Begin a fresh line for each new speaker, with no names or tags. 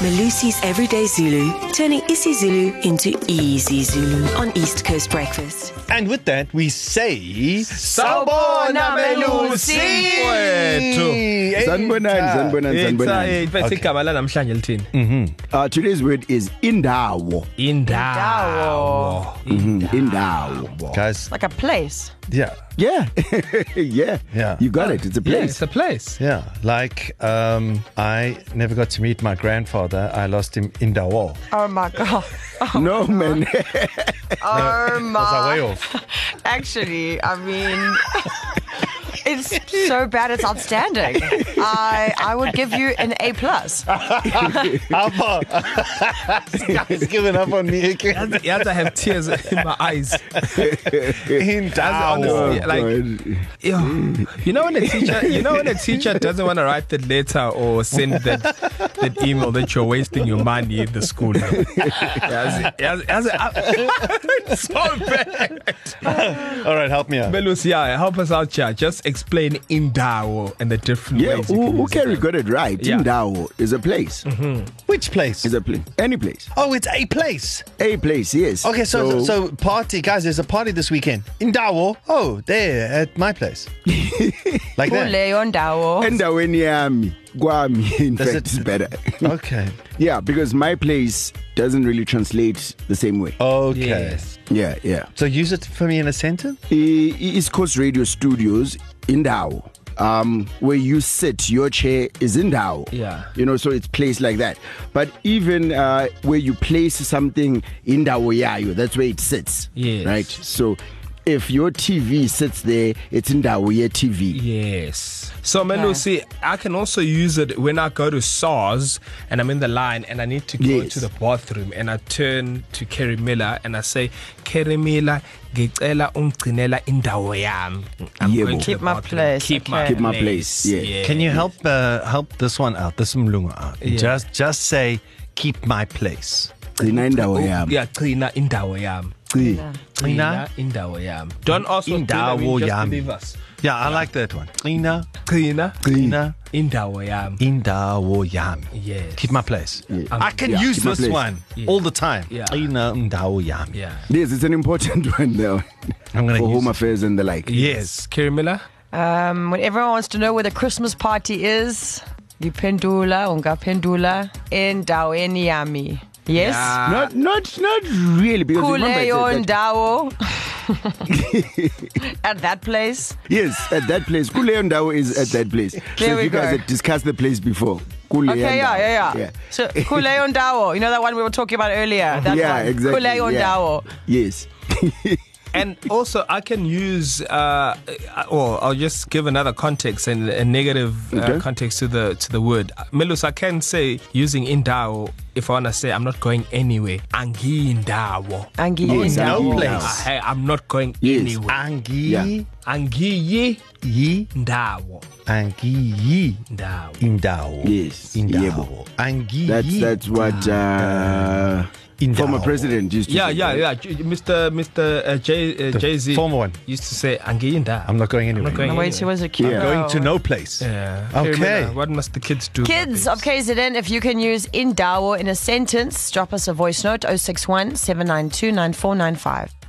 Malusi's Everyday Zulu, turning isiZulu into easy Zulu on East Coast Breakfast.
And with that, we say
Sawubona, Melusi.
Hey,
sanibonani
cha.
sanibonani sanibonani
It's igama la namhlanje lithini?
uh, today's word is indawo
Indawo.
Mhm, indawo
Guys,
like a place.
yeah,
yeah yeah
Yeah.
you got it it's a
Yeah,
place
it's a place.
yeah. Like, um, I never got to meet my grandfather. I lost him in the war.
Oh my god.
no man
Oh
Was I way
my.
off?
Actually, I mean. It's so bad. It's outstanding. I I would give you an A plus.
How far? This guy's giving up on me again.
Yes, I have tears in my eyes.
In
honestly,
Dawo.
yeah. like-
Oh, God.
Ew. You know when a teacher, you know when a teacher doesn't want to write that letter or send that that email that you're wasting your money in the school. Yes, yes, yes, I- so bad.
All right, help me out.
Belus, yeah, help us out, chat. Just explain indawo and the different
yeah
ways. you can
who
use it.
carry got it right
Yeah.
indawo is a place
Mm-hmm. Which place?
is a place any place
Oh, it's a place.
a place yes
Okay, so, so so party guys, there's a party this weekend in Dawo. Oh, there at my place. like that.
Leondawo.
endaweni yami kwami in
Does
fact
it-
it's better
Okay.
yeah because my place doesn't really translate the same way
Okay.
Yes.
yeah yeah
So use it for me in a sentence.
I- I- East Coast Radio Studios indawo um where you sit your chair is indawo
Yeah.
you know so it's placed like that but even uh where you place something indawo yayo that's where it sits
Yes.
right so if your TV sits there it's indawo ye TV
Yes. So Melusi, yeah. I can also use it when I go to SARS and I'm in the line and I need to go
Yes.
to the bathroom and I turn to Kerry Miller and I say, Kerry Miller, ngicela ungcinela indawo yami. I'm
Yebo.
going to the
Keep my
bathroom.
place,
Keep
okay.
my
Keep my
place.
place, yeah.
yeah.
Can you help uh, help this one out, this Mlunga out? Yeah. Just just say keep my place.
gcina indawo yami
Oh, Yeah, cleaner indawo yami.
Gci-
Cleaner
Cleaner.
indawo yami. Don't also
Indawo
just
yami.
believe us.
Yeah, I like that one. Cleaner,
Cleaner
cleaner,
indawo yami.
indawo yami.
Yes.
Keep my place. Yeah. I can
Yeah,
use
keep my
this
place.
one
Yeah.
all the time.
Yeah.
Cleaner indawo yami.
Yeah.
yes it's an important one though
I'm gonna
for
use
home
it.
affairs and the like
Yes.
Kerry Miller?
Um, when everyone wants to know where the Christmas party is, ngiphendula, ungaphendula endaweni yami. Yes.
Yeah.
not not not really because
eh,
remember it's at that,
Kuleyondawo. At that place.
yes at that place kuleyo ndawo is at that place
There
so
we
you guys
go.
had discussed the place before kuleyo
Okay, yeah, yeah,
ndawo.
yeah.
yeah.
yeah. So Kuleyondawo, you know that one we were talking about earlier. That
yeah,
one.
exactly.
Kuleyondawo.
Yeah. Yes.
And also, I can use, uh, or I'll just give another context and a negative uh,
Okay.
context to the to the word. Melus, I can say using indawo if I want to say I'm not going anywhere. Angi indawo.
Angiyi
no
ndawo.
place.
Hey, I'm not going
Yes.
anywhere.
Angi
Angi
yi
indawo.
angi yi
Indawo.
indawo.
Yes.
Indawo.
Yebo.
Angi
That's
yi
that's what uh
Indawo.
former president used to
Yeah,
say.
yeah, yeah. J- Mr. Mr. Uh, J, uh,
The
Jay Z
former one.
used to say Angi indawo.
I'm not going
I'm
anywhere.
not going
Wait, she
anywhere.
was a cute
Yeah.
girl.
Going to no place.
Yeah.
Okay.
What must the kids do?
Kids of KZN, if you can use oh indawo in a sentence, drop us a voice note 061 792 9495.